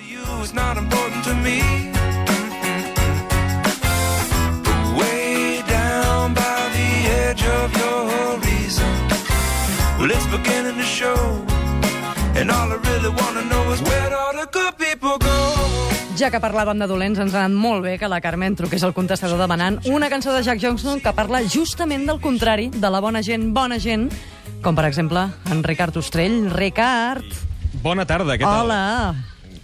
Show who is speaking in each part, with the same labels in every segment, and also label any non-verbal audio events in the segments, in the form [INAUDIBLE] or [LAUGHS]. Speaker 1: it's not important to me. But way down by the edge of your horizon, well, it's beginning to show. And all I really wanna know is where all the good people go.
Speaker 2: Ja que parlàvem de dolents, ens ha anat molt bé que la Carmen truqués al contestador demanant una cançó de Jack Johnson que parla justament del contrari, de la bona gent, bona gent, com per exemple en Ricard Ostrell. Ricard,
Speaker 3: Bona tarda, què tal?
Speaker 2: hola.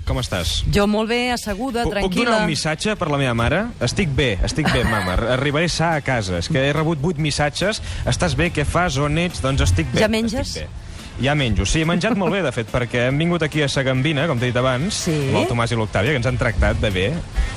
Speaker 3: Com estàs?
Speaker 2: Jo molt bé, asseguda,
Speaker 3: Puc- Puc
Speaker 2: tranquil·la.
Speaker 3: donar un missatge per la meva mare? Estic bé, estic bé,
Speaker 2: [LAUGHS]
Speaker 3: mama. Arribaré sa a casa. És que he rebut vuit missatges. Estàs bé? Què fas? On ets? Doncs estic bé.
Speaker 2: Ja menges?
Speaker 3: Estic bé. Ja menjo. Sí, he menjat molt bé, de fet, perquè hem vingut aquí a Sagambina, com t'he dit abans,
Speaker 2: Sí.
Speaker 3: amb el Tomàs i l'Octàvia, que ens han tractat de bé.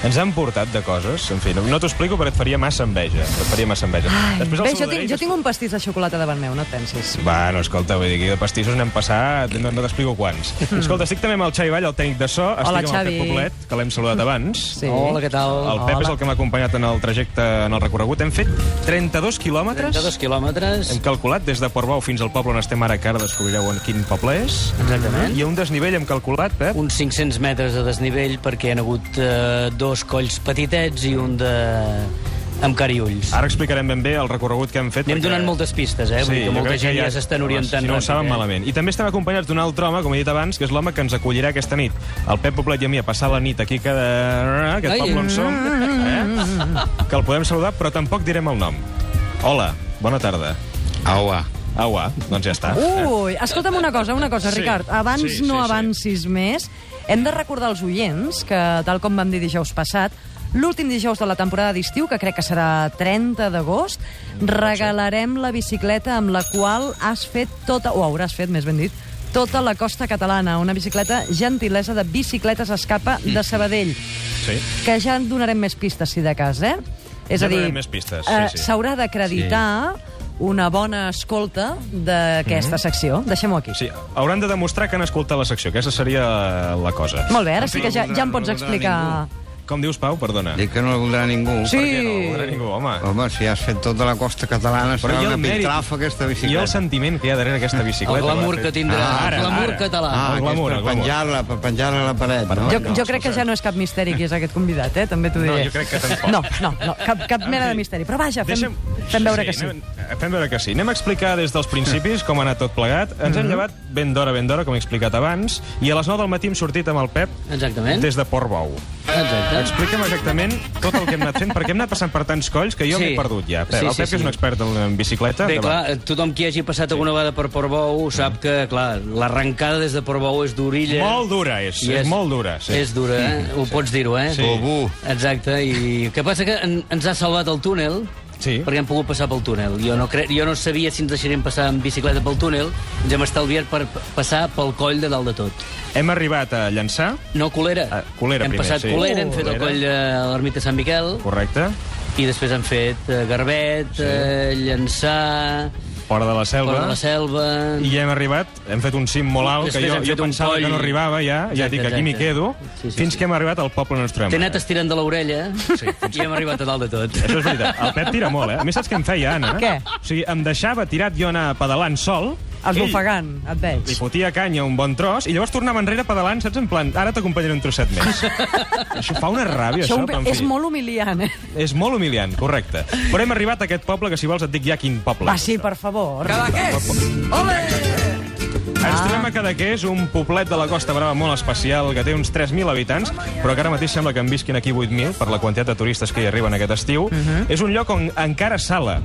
Speaker 3: Ens han portat de coses. En fi, no, no t'ho explico perquè et faria massa enveja. Et faria massa enveja.
Speaker 2: Ai,
Speaker 3: Després el
Speaker 2: bé, jo
Speaker 3: saludaré i
Speaker 2: tinc, jo tinc un pastís de xocolata davant meu, no et pensis.
Speaker 3: Bueno, escolta, vull dir, aquí de pastissos n'hem passat, no, no t'explico
Speaker 4: [LAUGHS]
Speaker 3: quants. Escolta, estic també amb el Xavi Vall, el tècnic de so, estic
Speaker 2: Hola,
Speaker 3: amb
Speaker 2: Xavi.
Speaker 3: el Pep Poblet, que l'hem saludat abans.
Speaker 2: Sí.
Speaker 4: Hola, què tal?
Speaker 3: El Pep és el que m'ha acompanyat en el trajecte, en el recorregut. Hem fet 32 quilòmetres.
Speaker 4: 32 quilòmetres.
Speaker 3: Hem calculat des de Portbou fins al poble on estem ara, que ara descobrireu en quin poble és.
Speaker 4: Exactament.
Speaker 3: I a un desnivell hem calculat, Pep,
Speaker 4: Uns 500 metres de desnivell perquè hi ha hagut eh, dos colls petitets i un de... amb cariulls.
Speaker 3: Ara explicarem ben bé el recorregut que hem fet.
Speaker 4: Anem
Speaker 3: perquè-
Speaker 4: donant moltes pistes, eh? Vull dir que
Speaker 3: jo
Speaker 4: molta
Speaker 3: crec
Speaker 4: gent ja s'estan
Speaker 3: home,
Speaker 4: orientant
Speaker 3: Si no ho
Speaker 4: ràpid,
Speaker 3: saben
Speaker 4: eh?
Speaker 3: malament. I també estem acompanyats d'un altre home, com he dit abans, que és l'home que ens acollirà aquesta nit. El Pep Poblet i a mi a passar la nit aquí a cada... aquest
Speaker 4: Ai.
Speaker 3: poble on som. Eh? Que el podem saludar, però tampoc direm el nom. Hola, bona tarda.
Speaker 5: Aua.
Speaker 3: Au, ah, doncs ja està.
Speaker 4: Uh!
Speaker 2: Ui, escolta'm una cosa, una cosa,
Speaker 3: Sí,
Speaker 2: Ricard. Abans
Speaker 3: sí, sí,
Speaker 2: no
Speaker 3: sí.
Speaker 2: avancis més, hem de recordar als oients que, tal com vam dir dijous passat, l'últim dijous de la temporada d'estiu, que crec que serà 30 d'agost, regalarem la bicicleta amb la qual has fet tota, o hauràs fet, més ben dit, tota la costa catalana, una bicicleta gentilesa de bicicletes escapa de Sabadell,
Speaker 3: Eh, Sí.
Speaker 2: que ja en donarem més pistes, si de cas, eh? És
Speaker 3: Ja
Speaker 2: a dir,
Speaker 3: donarem més pistes, sí,
Speaker 2: eh,
Speaker 3: sí.
Speaker 2: s'haurà d'acreditar una bona escolta d'aquesta secció. Deixem-ho aquí.
Speaker 3: Sí, hauran de demostrar que han escoltat la secció. Aquesta seria la cosa.
Speaker 2: Molt bé, ara
Speaker 5: No
Speaker 2: sí que ja, ja em pots
Speaker 5: voldrà
Speaker 2: explicar...
Speaker 3: Com dius, Pau? Perdona.
Speaker 5: Dic que no la voldrà ningú.
Speaker 2: Sí.
Speaker 5: perquè
Speaker 3: No, no, ningú, home.
Speaker 5: Home, si has fet tota la costa catalana, serà
Speaker 3: hi ha
Speaker 5: una
Speaker 3: el mèrit,
Speaker 5: pitrafa aquesta
Speaker 3: Hi ha el
Speaker 5: bicicleta.
Speaker 3: sentiment que hi ha darrere aquesta bicicleta.
Speaker 4: El glamour
Speaker 3: l'ha
Speaker 4: que
Speaker 3: fet.
Speaker 4: tindrà,
Speaker 3: Ah,
Speaker 4: el
Speaker 3: ara,
Speaker 4: glamour
Speaker 3: ara.
Speaker 4: català.
Speaker 5: Ah,
Speaker 3: el
Speaker 5: que és
Speaker 3: glamour,
Speaker 5: per
Speaker 3: el glamour.
Speaker 5: penjar-la, per penjar-la a la paret, no?
Speaker 2: Jo, jo crec que ja no és cap misteri qui és aquest convidat, eh? també t'ho
Speaker 3: No,
Speaker 2: diré.
Speaker 3: jo crec que tampoc.
Speaker 2: No, no, no cap, cap mena de misteri. Però vaja, fem, fem veure que sí.
Speaker 3: Anem, fem veure que sí. Anem a explicar des dels principis com ha anat tot plegat. Ens
Speaker 4: Mhm.
Speaker 3: hem llevat ben d'hora, ben d'hora, com he explicat abans, i a les 9 del matí hem sortit amb el Pep
Speaker 4: Exactament.
Speaker 3: Ah. des de Portbou.
Speaker 4: Exacte.
Speaker 3: Explica'm exactament tot el que hem anat fent, perquè hem anat passant per tants colls que jo
Speaker 4: Sí.
Speaker 3: m'he perdut ja. Pep,
Speaker 4: Sí,
Speaker 3: el
Speaker 4: sí,
Speaker 3: Pep que
Speaker 4: sí.
Speaker 3: és un expert en, en bicicleta.
Speaker 4: Bé,
Speaker 3: endavant.
Speaker 4: clar, eh, tothom qui hagi passat alguna vegada per Portbou sap que, clar, l'arrencada des de Portbou és d'orilla.
Speaker 3: Molt dura és,
Speaker 4: I
Speaker 3: és, molt dura. Sí.
Speaker 4: És dura, eh? Ho pots dir-ho, eh?
Speaker 3: Sí.
Speaker 5: Obu.
Speaker 4: Exacte, i el que passa que en, ens ha salvat el túnel,
Speaker 3: Sí.
Speaker 4: perquè hem pogut passar pel túnel. Jo no, cre... jo no sabia si ens deixarem passar en bicicleta pel túnel, ens hem estalviat per p- passar pel coll de dalt de tot.
Speaker 3: Hem arribat a llançar,
Speaker 4: No, Colera.
Speaker 3: Ah, Colera
Speaker 4: hem
Speaker 3: primer,
Speaker 4: passat
Speaker 3: sí.
Speaker 4: Colera, hem
Speaker 3: Oh,
Speaker 4: fet el
Speaker 3: Colera.
Speaker 4: coll de l'ermita Sant Miquel,
Speaker 3: correcte,
Speaker 4: i després hem fet eh, Garbet, eh, Llançà,
Speaker 3: fora de la selva.
Speaker 4: Port de la Selva...
Speaker 3: I hem arribat, hem fet un cim molt alt,
Speaker 4: Després
Speaker 3: que jo,
Speaker 4: hem
Speaker 3: jo
Speaker 4: fet un
Speaker 3: pensava
Speaker 4: coll.
Speaker 3: que no arribava ja, ja
Speaker 4: Exacte,
Speaker 3: dic, aquí m'hi
Speaker 4: exacte.
Speaker 3: quedo,
Speaker 4: Sí, sí,
Speaker 3: fins
Speaker 4: sí.
Speaker 3: que hem arribat al poble on ens trobem.
Speaker 4: T'he
Speaker 3: ara.
Speaker 4: anat estirant de l'orella sí, i hem arribat a dalt de tot.
Speaker 3: Això és veritat. El Pep tira molt, eh? A més, saps què em feia, Anna?
Speaker 2: Què?
Speaker 3: O sigui, em deixava tirat jo anar pedalant sol.
Speaker 2: Esbufegant, et
Speaker 3: Li
Speaker 2: veig.
Speaker 3: fotia canya un bon tros i llavors tornava enrere pedalant, saps? En plan, ara t'acompanyaré un trosset més. això fa una ràbia,
Speaker 2: Això
Speaker 3: això.
Speaker 2: un...
Speaker 3: però, en
Speaker 2: És
Speaker 3: fi,
Speaker 2: molt humiliant, eh?
Speaker 3: és molt humiliant, correcte. Però hem arribat a aquest poble, que si vols et dic ja quin poble.
Speaker 2: Va, Ah, sí, per favor.
Speaker 3: Ens trobem a Cadaqués, un poblet de la Costa Brava molt especial, que té uns 3.000 habitants, però que ara mateix sembla que en visquin aquí 8.000 per la quantitat de turistes que hi arriben aquest estiu. És un lloc on encara sala,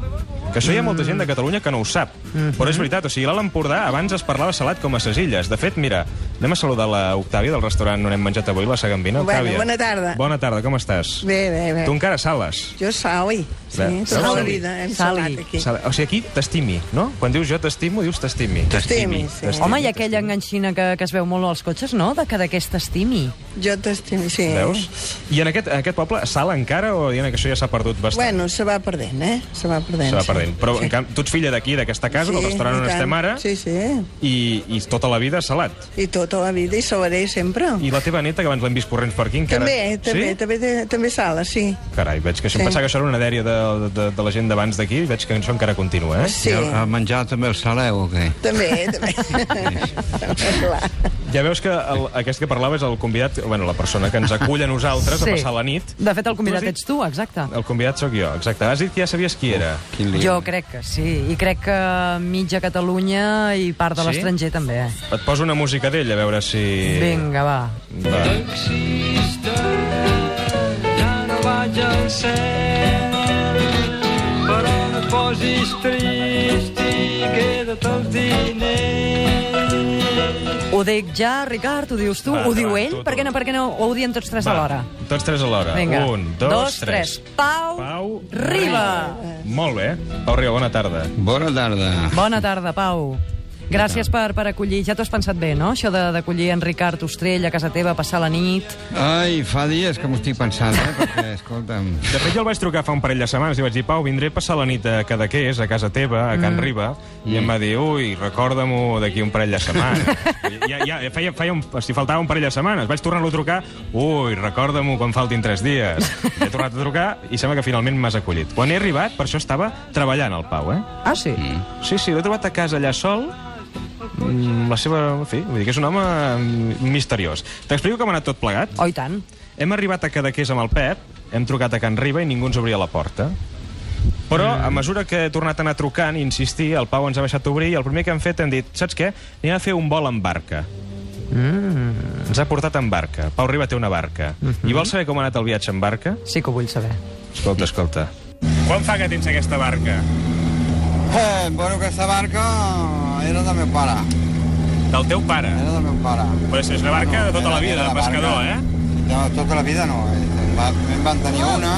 Speaker 3: que això hi ha molta gent de Catalunya que no ho sap. Però és veritat, o sigui, l'Alt Empordà abans es parlava salat com a ses illes. De fet, mira, anem a saludar la Octàvia del restaurant on hem menjat avui, la Sagambina.
Speaker 6: Bueno,
Speaker 3: Octàvia.
Speaker 6: bona tarda.
Speaker 3: Bona tarda, com estàs?
Speaker 6: Bé, bé, bé.
Speaker 3: Tu encara sales.
Speaker 6: Jo Saui. Sí,
Speaker 3: Bé,
Speaker 6: tota la
Speaker 3: Saui.
Speaker 6: vida hem
Speaker 2: Saui.
Speaker 6: salat aquí.
Speaker 3: Sala- O sigui, aquí t'estimi, no? Quan dius jo t'estimo, dius t'estimi.
Speaker 6: T'estimi, sí.
Speaker 2: Home, i aquella enganxina que, que es veu molt als cotxes, no? De que d'aquesta estimi.
Speaker 6: Jo t'estimo, sí.
Speaker 3: Veus? I en aquest, en aquest poble, sala encara o dient que això ja s'ha perdut bastant?
Speaker 6: Bueno, se va perdent, eh? Se va perdent.
Speaker 3: Se va
Speaker 6: sí.
Speaker 3: perdent. Però,
Speaker 6: Sí.
Speaker 3: en canvi, tu ets filla d'aquí, d'aquesta casa, del
Speaker 6: Sí,
Speaker 3: restaurant
Speaker 6: i
Speaker 3: on
Speaker 6: tant.
Speaker 3: estem ara,
Speaker 6: Sí, sí.
Speaker 3: i, i tota la vida salat.
Speaker 6: I tota la vida, i sabaré sempre.
Speaker 3: I la teva neta, que abans l'hem vist corrents per aquí, encara...
Speaker 6: També, també,
Speaker 3: sí?
Speaker 6: també, té- també sala, sí.
Speaker 3: Carai, veig que això, em
Speaker 6: Sí.
Speaker 3: pensava que això era una dèria de, de, de la gent d'abans d'aquí, i veig que això encara continua, eh?
Speaker 6: Sí,
Speaker 5: I el, el menjar també el saleu, o què?
Speaker 3: [LAUGHS]
Speaker 6: també, també. Clar.
Speaker 3: Ja veus que el, aquest que parlava és el convidat, bueno, la persona que ens acull a nosaltres a passar la nit.
Speaker 2: De fet, el convidat
Speaker 3: Tu has dit-
Speaker 2: ets tu, exacte.
Speaker 3: El convidat sóc jo, exacte. Has dit que ja sabies qui era.
Speaker 5: Quin lío.
Speaker 2: Jo crec que sí, i crec que mitja Catalunya i part de
Speaker 3: Sí?
Speaker 2: l'estranger també. Eh?
Speaker 3: Et poso una música d'ell, a veure si...
Speaker 2: Vinga, va.
Speaker 3: Va.
Speaker 1: Taxista, ja no vaig al cel, però no et posis trist i queda't els diners.
Speaker 2: Ho dic ja, Ricard, ho dius tu,
Speaker 3: Va,
Speaker 2: ho diu
Speaker 3: endavant,
Speaker 2: ell?
Speaker 3: tu,
Speaker 2: Per què no,
Speaker 3: tu.
Speaker 2: per què no ho diem tots tres
Speaker 3: Va,
Speaker 2: alhora?
Speaker 3: Tots tres alhora.
Speaker 2: Vinga.
Speaker 3: Un, dos, tres.
Speaker 2: Pau,
Speaker 3: Pau
Speaker 2: Riba.
Speaker 3: Molt bé. Pau Riba, bona tarda.
Speaker 5: Bona tarda.
Speaker 2: Bona tarda, Pau. Gràcies per, per acollir. Ja t'ho has pensat bé, no? Això de- d'acollir en Ricard Ostrell a casa teva, passar la nit...
Speaker 5: Ai, fa dies que m'ho estic pensant, eh? [LAUGHS] Perquè, escolta'm...
Speaker 3: De fet, jo el vaig trucar fa un parell de setmanes i vaig dir, Pau, vindré a passar la nit a Cadaqués, a casa teva, a Can
Speaker 2: Mm.
Speaker 3: Riba, i em va dir, ui, recorda-m'ho d'aquí un parell de
Speaker 2: [LAUGHS]
Speaker 3: setmanes. ja, ja, feia, feia un, si faltava un parell de setmanes. Vaig tornar-lo a trucar, ui, recorda-m'ho quan faltin tres dies. I he tornat a trucar i sembla que finalment m'has acollit. Quan he arribat, per això estava treballant al Pau, eh?
Speaker 2: Ah, sí?
Speaker 3: Sí, sí, l'he trobat a casa allà sol, Mm, la seva... En fi, vull dir que és un home mm, misteriós. T'explico com ha anat tot plegat?
Speaker 2: Oh, i tant.
Speaker 3: Hem arribat a Cadaqués amb el Pep, hem trucat a Can Riba i ningú ens obria la porta. Però, a mesura que he tornat a anar trucant i insistir, el Pau ens ha deixat obrir i el primer que hem fet hem dit, saps què? Anem a fer un vol en barca. Mm. Ens ha portat en barca. Pau Riba té una barca. I vols saber com ha anat el viatge en barca?
Speaker 2: Sí que ho vull saber.
Speaker 3: Escolta, escolta. Quan fa que tens aquesta barca?
Speaker 5: Eh, bueno, aquesta barca era del meu pare.
Speaker 3: Del teu pare.
Speaker 5: Era del meu pare.
Speaker 3: Però és una barca de tota la vida, de pescador, eh?
Speaker 5: No, tota la vida no. Em, va, em van tenir una,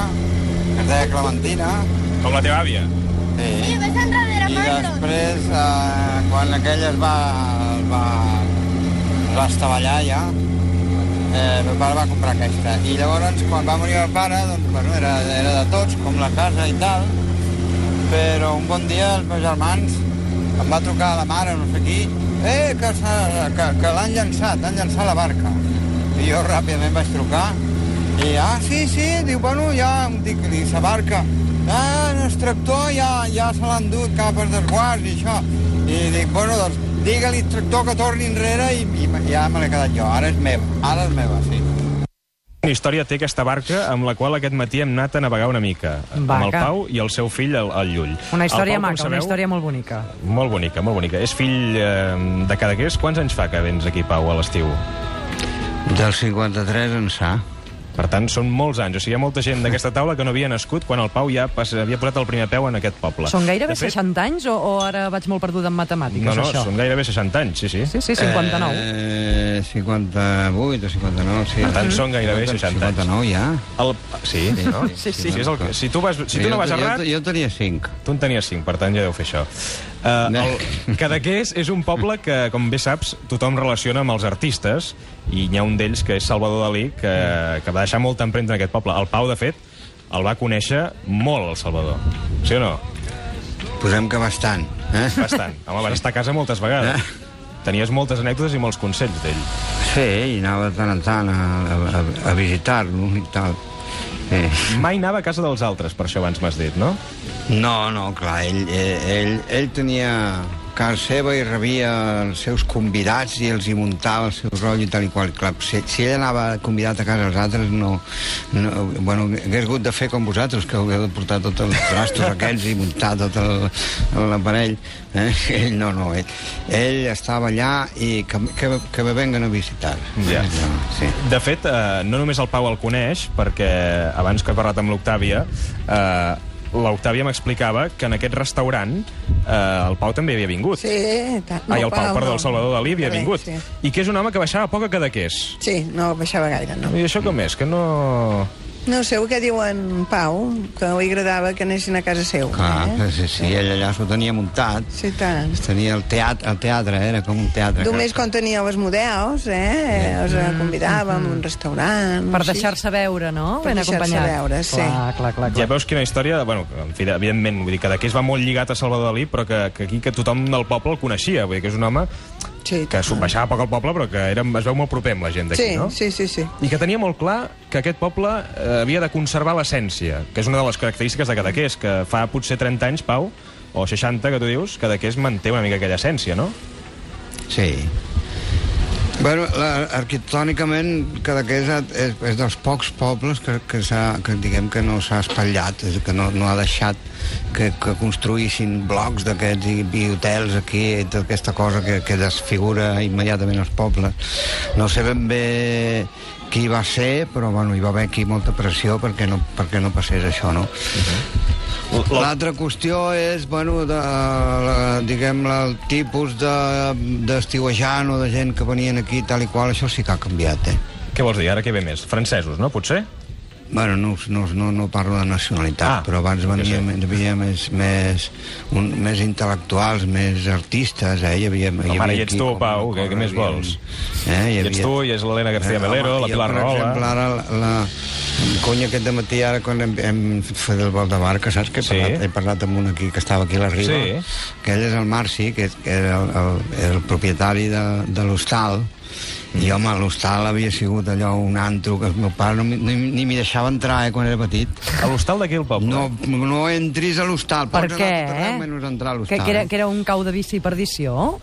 Speaker 5: que es deia Clementina,
Speaker 3: Com la teva àvia.
Speaker 5: sí.
Speaker 7: Sí, ves enrere,
Speaker 5: I
Speaker 7: Marlon.
Speaker 5: després, eh, quan aquella es va, es va, es va estavellar ja, eh, meu pare va comprar aquesta. I llavors, quan va morir el pare, doncs, bueno, era, era de tots, com la casa i tal, però un bon dia els meus germans em va trucar la mare, no sé qui, eh, que, s'ha- que, que l'han llançat, han llançat la barca. I jo ràpidament vaig trucar i, ah, sí, sí, diu, bueno, ja, em dic, li sa barca, ah, el tractor ja, ja se l'han dut cap als desguards i això. I dic, bueno, doncs, digue-li al tractor que torni enrere i, i ja me l'he quedat jo, ara és meva, ara és meva, sí.
Speaker 3: Quina història té aquesta barca amb la qual aquest matí hem anat a navegar una mica? Amb el
Speaker 2: Vaca.
Speaker 3: Pau i el seu fill, el, el Llull.
Speaker 2: Una història
Speaker 3: El Pau, com
Speaker 2: maca, una
Speaker 3: sabeu,
Speaker 2: història molt bonica.
Speaker 3: Molt bonica, molt bonica. És fill eh, de Cadaqués. Quants anys fa que vens aquí, Pau, a l'estiu?
Speaker 5: Del 53 ençà.
Speaker 3: Per tant, són molts anys. O sigui, hi ha molta gent d'aquesta taula que no havia nascut quan el Pau ja pas, havia posat el primer peu en aquest poble.
Speaker 2: Són gairebé
Speaker 3: De fet,
Speaker 2: 60 anys o, o ara vaig molt perduda en matemàtiques,
Speaker 3: No, no,
Speaker 2: això?
Speaker 3: són gairebé 60 anys, sí, sí.
Speaker 2: Sí, sí, 59.
Speaker 5: Eh, 58 o 59, sí.
Speaker 3: Per tant, són gairebé 60 anys.
Speaker 5: 59 ja.
Speaker 3: El... Sí, no?
Speaker 2: Sí, sí.
Speaker 3: És el que... Si tu, vas... si tu
Speaker 5: Jo-
Speaker 3: no vas
Speaker 5: jo-
Speaker 3: errat...
Speaker 5: Jo, tenia 5.
Speaker 3: Tu en tenies 5, per tant ja deu fer això. Uh,
Speaker 5: No.
Speaker 3: el [LAUGHS] Cadaqués és un poble que, com bé saps, tothom relaciona amb els artistes, i n'hi ha un d'ells que és Salvador Dalí, que, que va deixar molta empremta en aquest poble. El Pau, de fet, el va conèixer molt, el Salvador. Sí o no?
Speaker 5: Posem que bastant. Eh?
Speaker 3: Bastant. Home, vas estar a casa moltes vegades. Tenies moltes anècdotes i molts consells d'ell.
Speaker 5: Sí, i anava de tant en tant a, a, a visitar-lo i tal. Sí.
Speaker 3: Mai anava a casa dels altres, per això abans m'has dit, no?
Speaker 5: No, no, clar, ell, eh, ell, ell tenia casa seva i rebia els seus convidats i els hi muntava el seu rotllo i tal i qual. Clar, si, si ell anava convidat a casa dels altres, no, no... Bueno, hagués hagut de fer com vosaltres, que hagueu de portar tots els trastos aquests i muntar tot el- l'aparell. Eh? Ell no, no, ell, ell estava allà i que, que, que me venguen a visitar.
Speaker 3: Ja.
Speaker 5: No, sí.
Speaker 3: De fet, eh, no només el Pau el coneix, perquè abans que he parlat amb l'Octàvia, eh, l'Octàvia m'explicava que en aquest restaurant eh, el Pau també havia vingut.
Speaker 6: Sí, i tant.
Speaker 3: Ai, el Pau, perdó, el Salvador Dalí havia
Speaker 6: Correcte,
Speaker 3: vingut.
Speaker 6: Sí.
Speaker 3: I que és un home que baixava poc a Cadaqués.
Speaker 6: sí, no baixava gaire, no.
Speaker 3: I això com és? Que no...
Speaker 6: No sé el que diu en Pau, que li agradava que anessin a casa seu. eh?
Speaker 5: Clar, sí, sí, ell allà s'ho tenia muntat.
Speaker 6: Sí, tant.
Speaker 5: Tenia el teatre, el teatre era com un teatre.
Speaker 6: Només quan teníeu els models, eh? Els eh, convidàvem a un restaurant...
Speaker 2: Per
Speaker 6: sí.
Speaker 2: deixar-se veure, no?
Speaker 6: Per
Speaker 2: Ben
Speaker 6: deixar-se
Speaker 2: acompanyat.
Speaker 6: veure, sí.
Speaker 2: Clar, clar, clar.
Speaker 3: Ja
Speaker 2: clar.
Speaker 3: veus quina història... de- Bueno, en fi, evidentment, vull dir, Cadaqués va molt lligat a Salvador Dalí, però que, que aquí que tothom del poble el coneixia. Vull dir que és un home
Speaker 6: Sí,
Speaker 3: que s'ho baixava poc al poble, però que era, es veu molt proper amb la gent d'aquí,
Speaker 6: sí,
Speaker 3: no?
Speaker 6: sí, sí, sí.
Speaker 3: I que tenia molt clar que aquest poble eh, havia de conservar l'essència, que és una de les característiques de Cadaqués, que fa potser 30 anys, Pau, o 60, que tu dius, Cadaqués manté una mica aquella essència, no?
Speaker 5: Sí. Bueno, la, arquitectònicament, Cadaqués ha- és, és dels pocs pobles que, que, s'ha- que diguem que no s'ha espatllat, és a dir, que no, no ha deixat que, que construïssin blocs d'aquests i, i hotels aquí, i tota aquesta cosa que, que desfigura immediatament els pobles. No sé ben bé qui va ser, però bueno, hi va haver aquí molta pressió perquè no, perquè no passés això, no? L'altra qüestió és, bueno, de, la, diguem el tipus de- d'estiuejant de, o de gent que venien aquí, tal i qual, això sí que ha canviat, eh?
Speaker 3: Què vols dir? Ara què ve més? Francesos, no? Potser?
Speaker 5: Bueno, no, us- no, us- no, no parlo de nacionalitat,
Speaker 3: Ah,
Speaker 5: ah, però abans
Speaker 3: jo què
Speaker 5: venia,
Speaker 3: sé.
Speaker 5: hi havia més, més, un, més intel·lectuals, més artistes, eh? Hi havia, hi
Speaker 3: Home,
Speaker 5: havia
Speaker 3: ara hi ets tu,
Speaker 5: com-
Speaker 3: Pau,
Speaker 5: com
Speaker 3: que- que més
Speaker 5: hi havia-
Speaker 3: vols?
Speaker 5: Eh? Hi
Speaker 3: Hi ets tu, hi és l'Helena García Melero, la
Speaker 5: jo,
Speaker 3: Pilar
Speaker 5: Per exemple,
Speaker 3: Rahola...
Speaker 5: ara la, la em conya aquest dematí, ara quan hem, hem fet el vol de barca, saps que he
Speaker 3: Sí.
Speaker 5: parlat, he parlat amb un aquí que estava aquí a la riba,
Speaker 3: Sí.
Speaker 5: que ell és el Marci, que, és- que era el, el, era el propietari de, de l'hostal, i home, l'hostal havia sigut allò un antro que el meu pare no, mi- ni, ni m'hi deixava entrar eh, quan era petit.
Speaker 3: A l'hostal d'aquí al poble.
Speaker 5: No, no entris a l'hostal.
Speaker 2: Per
Speaker 5: pots anar
Speaker 2: què,
Speaker 5: a tot arreu
Speaker 2: eh?
Speaker 5: Menys entrar a
Speaker 2: Que,
Speaker 5: l'hostal.
Speaker 2: que, era, que era un cau de bici i perdició?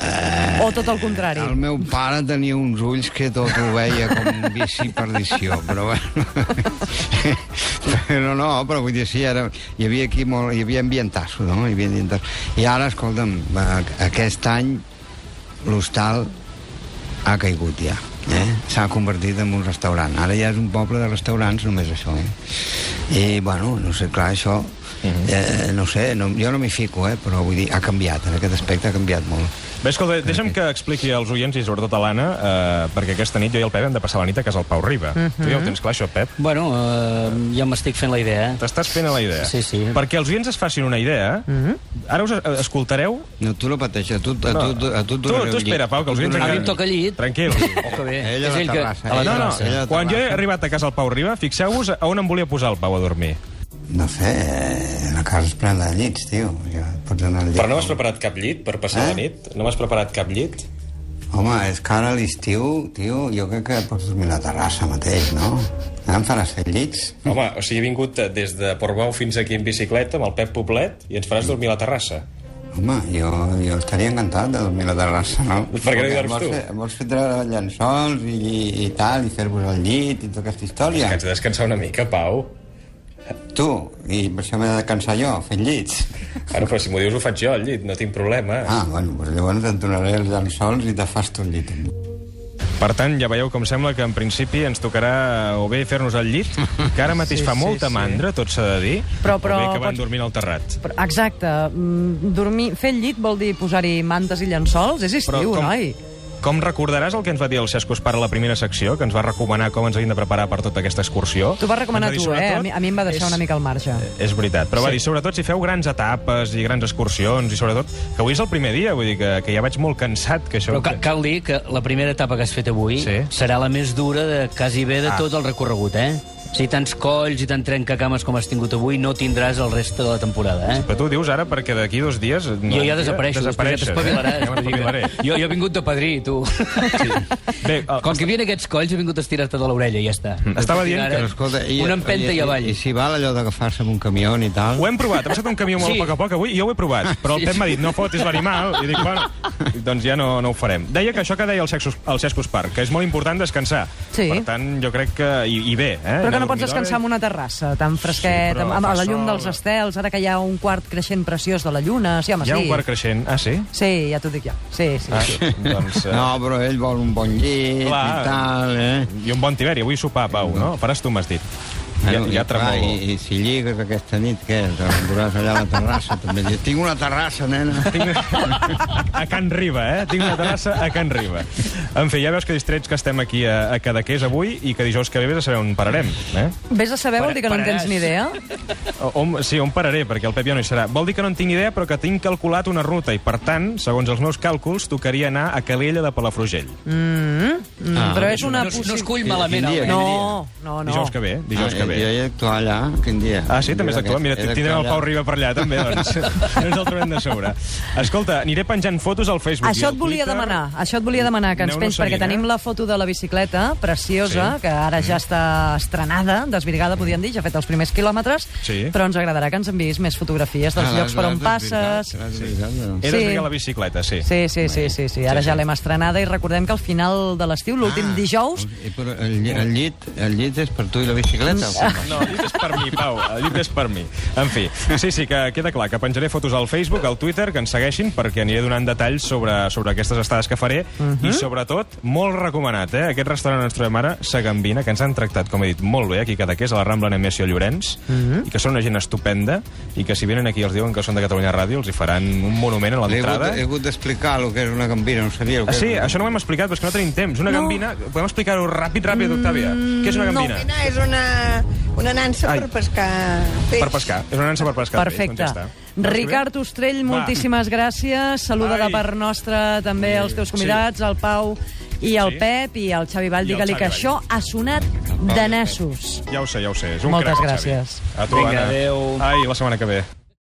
Speaker 2: Eh... O tot el contrari?
Speaker 5: El meu pare tenia uns ulls que tot ho veia com bici perdició, però bueno... però no, però vull dir, sí, ara hi havia aquí molt... Hi havia ambientassos, no? Hi havia ambientassos. I ara, escolta'm, va, aquest any l'hostal ha caigut ja. Eh? S'ha convertit en un restaurant. Ara ja és un poble de restaurants, només això. Eh? I, bueno, no sé, clar, això... eh, no sé, no, jo no m'hi fico, eh? però vull dir, ha canviat, en aquest aspecte ha canviat molt.
Speaker 3: Bé, escolta, deixa'm que expliqui als oients i sobretot a l'Anna, eh, perquè aquesta nit jo i el Pep hem de passar la nit a casa del Pau Riba. Tu ja ho tens clar, això, Pep?
Speaker 4: Bueno, eh, ja m'estic fent la idea. eh?
Speaker 3: T'estàs fent a la idea.
Speaker 4: Sí, sí.
Speaker 3: Perquè els oients es facin una idea, ara us eh, escoltareu...
Speaker 5: No, tu no pateixes, a tu, a tu, a tu, et
Speaker 3: tu,
Speaker 5: donaré
Speaker 3: tu
Speaker 5: un
Speaker 3: espera,
Speaker 5: llit.
Speaker 3: Pau, que els oients...
Speaker 4: A mi
Speaker 3: encara-
Speaker 4: em toca llit.
Speaker 3: Tranquil.
Speaker 4: Oh, que bé.
Speaker 5: Ella a
Speaker 4: és
Speaker 5: la
Speaker 4: ell que...
Speaker 5: terrassa,
Speaker 4: A
Speaker 3: No,
Speaker 4: la
Speaker 5: ella a la
Speaker 3: no,
Speaker 4: terrassa.
Speaker 5: terrassa.
Speaker 3: quan jo he arribat a casa del Pau Riba, fixeu-vos a on em volia posar el Pau a dormir.
Speaker 5: No sé, la casa és plena de llits, tio. Ja pots anar al llit.
Speaker 3: preparat cap llit per
Speaker 5: Eh? la
Speaker 3: nit? No m'has preparat cap llit?
Speaker 5: Home, és que ara a l'estiu, tio, jo crec que pots dormir a la terrassa mateix, no? Ara em faràs set llits?
Speaker 3: Home, o sigui, he vingut eh, des de Portbou fins aquí en bicicleta amb el Pep Poblet i ens faràs dormir a la terrassa.
Speaker 5: Home, jo, jo estaria encantat de dormir a la terrassa, no?
Speaker 3: Per què no hi dorms
Speaker 5: vols
Speaker 3: tu?
Speaker 5: Fer, vols fer treure llençols i, i, i tal, i fer-vos el llit i tota aquesta història?
Speaker 3: de descansar una mica, Pau.
Speaker 5: Tu, i per això m'he de cansar jo, fent
Speaker 3: [LAUGHS]
Speaker 5: llits.
Speaker 3: Bueno, però si m'ho dius ho faig jo al llit, no tinc problema.
Speaker 5: Ah, bueno, doncs llavors et donaré els llençols i te fas tu el llit amb mi.
Speaker 3: Per tant, ja veieu com sembla que en principi ens tocarà o bé fer-nos el llit, que ara mateix sí, fa molta sí, mandra, tot s'ha de dir,
Speaker 2: Però- però
Speaker 3: o bé que van
Speaker 2: pots-
Speaker 3: dormint al terrat.
Speaker 2: Però, Exacte. mm, Dormir, fer el llit vol dir posar-hi mantes i llençols? És estiu, noi.
Speaker 3: com recordaràs el que ens va dir el Cesc Ospar a la primera secció, que ens va recomanar com ens havíem de preparar per tota aquesta excursió?
Speaker 2: T'ho vas recomanar
Speaker 3: Ens
Speaker 2: tu, eh?
Speaker 3: dir,
Speaker 2: A
Speaker 3: sobretot,
Speaker 2: mi, a mi em va deixar
Speaker 3: és- Eh,
Speaker 2: una mica al marge.
Speaker 3: És veritat, però sí. va dir, sobretot si feu grans etapes i grans excursions i sobretot que avui és el primer dia, vull dir que, que ja vaig molt cansat que això...
Speaker 4: Però ca cal dir que la primera etapa que has fet avui
Speaker 3: Sí.
Speaker 4: sí. serà la més dura de quasi bé de ah. tot el recorregut, eh? Si tants colls i tant trencacames com has tingut avui no tindràs el reste de la temporada, eh?
Speaker 3: Però tu ho dius ara perquè d'aquí dos dies... No,
Speaker 4: jo ja desapareixo, després ja
Speaker 3: desapareixes,
Speaker 4: t'espavilaràs.
Speaker 3: Eh? Ja m'espavilaré.
Speaker 4: [LAUGHS] jo, jo he vingut de padrí, tu. Sí.
Speaker 3: Bé, el-
Speaker 4: Com que hi havia aquests colls, he vingut a estirar-te de l'orella i ja està.
Speaker 3: Estava
Speaker 4: A partir
Speaker 3: dient
Speaker 4: d'ara,
Speaker 3: que-
Speaker 5: Però, escolta, i,
Speaker 4: Eh? Una empenta
Speaker 5: i,
Speaker 4: i, avall.
Speaker 5: I, I si val allò d'agafar-se amb un camió i tal...
Speaker 3: Ho hem provat, ha passat un camió molt a
Speaker 4: Sí.
Speaker 3: poc a poc avui, i jo ho he provat, però el Pep m'ha dit, no fotis l'animal, i dic, bueno, doncs ja no, no ho farem. Deia que això que deia el Cesc, Os- el Cesc Ospar, que és molt important descansar.
Speaker 2: Sí.
Speaker 3: Per tant, jo crec que... I, i bé, eh?
Speaker 2: Però que
Speaker 3: Anar a
Speaker 2: no pots
Speaker 3: dormir d'hora.
Speaker 2: descansar en una terrassa tan fresquet,
Speaker 3: però
Speaker 2: amb, amb
Speaker 3: fa
Speaker 2: la llum
Speaker 3: sol.
Speaker 2: dels estels, ara que hi ha un quart creixent preciós de la lluna. Sí, home,
Speaker 3: Hi ha
Speaker 2: sí.
Speaker 3: un quart creixent. Ah, sí?
Speaker 2: Sí, ja t'ho dic jo. Sí, sí.
Speaker 3: Ah,
Speaker 2: sí.
Speaker 3: doncs... eh,
Speaker 5: No, però ell vol un bon llit
Speaker 3: Clar.
Speaker 5: i tal, eh?
Speaker 3: I un bon tiberi, avui sopar, Pau, no? Faràs tu, m'has dit. Ja,
Speaker 5: Bueno,
Speaker 3: ja
Speaker 5: clar,
Speaker 3: tremolo.
Speaker 5: I, I si lligues aquesta nit, què? T'enduràs allà a la
Speaker 3: [LAUGHS]
Speaker 5: terrassa, també. Dius, Tinc una terrassa, nena.
Speaker 3: Tinc... A Can Riba, eh? Tinc una terrassa a Can Riba. En fi, ja veus que distrets que estem aquí a, a Cadaqués avui i que dijous que ve vés a saber on pararem, eh?
Speaker 2: Vés a saber, vol dir que no en
Speaker 4: Pararàs.
Speaker 2: tens ni idea?
Speaker 3: Ah. O- On, sí, on pararé, perquè el Pep ja no hi serà. Vol dir que no en tinc idea, però que tinc calculat una ruta i, per tant, segons els meus càlculs, tocaria anar a Calella de Palafrugell.
Speaker 2: Mm, però és una
Speaker 4: No, es- no es
Speaker 2: possibilitat...
Speaker 4: cull malament.
Speaker 5: Quin dia?
Speaker 4: el-
Speaker 2: No, no, no.
Speaker 3: Dijous que ve, dijous
Speaker 5: Ah,
Speaker 3: que
Speaker 5: eh,
Speaker 3: bé.
Speaker 5: Jo hi he actuat allà, quin dia?
Speaker 3: Ah, sí? També és d'actuar? Mira,
Speaker 5: He d'actuar
Speaker 3: tindrem el Pau
Speaker 5: allà.
Speaker 3: Riba per allà, també,
Speaker 5: [LAUGHS]
Speaker 3: doncs. no ens el trobem de sobre. Escolta, aniré penjant fotos al Facebook i
Speaker 2: Això
Speaker 3: al
Speaker 2: et volia
Speaker 3: Twitter.
Speaker 2: demanar, això et volia demanar, que ens
Speaker 3: Aneu-nos
Speaker 2: pens, perquè
Speaker 3: seguint, eh?
Speaker 2: tenim la foto de la bicicleta, preciosa,
Speaker 3: Sí. Mm-hmm.
Speaker 2: que ara ja està estrenada, desvirgada, podríem dir, ja ha fet els primers quilòmetres,
Speaker 3: Sí.
Speaker 2: però ens agradarà que ens enviïs més fotografies dels
Speaker 5: Ah,
Speaker 2: llocs per on
Speaker 5: l'has desvirgat,
Speaker 2: passes.
Speaker 5: l'has desvirgat, doncs.
Speaker 3: He
Speaker 2: Sí.
Speaker 3: desviat la bicicleta, sí.
Speaker 2: Sí, sí, sí, sí, sí. ara
Speaker 3: Sí,
Speaker 2: ja
Speaker 3: sí.
Speaker 2: l'hem estrenada i recordem que al final de l'estiu, l'últim
Speaker 5: Ah,
Speaker 2: dijous,
Speaker 5: i però El, lli- el, llit, el llit és per tu i la bicicleta? o com va?
Speaker 3: No, el llit és per mi, Pau, el llit és per mi. En fi, sí, sí, que queda clar que penjaré fotos al Facebook, al Twitter, que ens segueixin, perquè aniré donant detalls sobre, sobre aquestes estades que faré, i sobretot, molt recomanat, eh? Aquest restaurant on ens trobem ara, Sagambina, que ens han tractat, com he dit, molt bé, aquí cada que és a la Rambla Nemesio Llorenç, i que són una gent estupenda, i que si venen aquí i els diuen que són de Catalunya Ràdio, els hi faran un monument a
Speaker 5: He hagut,
Speaker 3: l'entrada.
Speaker 5: he hagut d'explicar el que és una gambina, no sabia el
Speaker 3: Ah,
Speaker 5: que
Speaker 3: sí,
Speaker 5: era.
Speaker 3: això no ho hem explicat, però és que no tenim temps. Una gambina, podem explicar-ho ràpid, ràpid, Octàvia? Què és una gambina?
Speaker 6: No, és una, una nansa
Speaker 3: Ai.
Speaker 6: per pescar peix.
Speaker 3: Per pescar. És una nansa per pescar.
Speaker 2: Perfecte.
Speaker 3: Doncs ja està.
Speaker 2: Ricard Ostrell,
Speaker 3: Va.
Speaker 2: moltíssimes gràcies. Saluda de
Speaker 3: Ai.
Speaker 2: part nostra també els teus convidats, el Pau i el
Speaker 3: Sí.
Speaker 2: Pep i el Xavi Vall.
Speaker 3: I el
Speaker 2: Digue-li que
Speaker 3: Xavi
Speaker 2: això ha sonat de nassos.
Speaker 3: Ja ho sé, ja ho sé. És un
Speaker 2: Moltes
Speaker 3: crac, el
Speaker 2: gràcies.
Speaker 3: Xavi. A tu, Vinga, Anna. Adéu. Ai, la setmana que ve.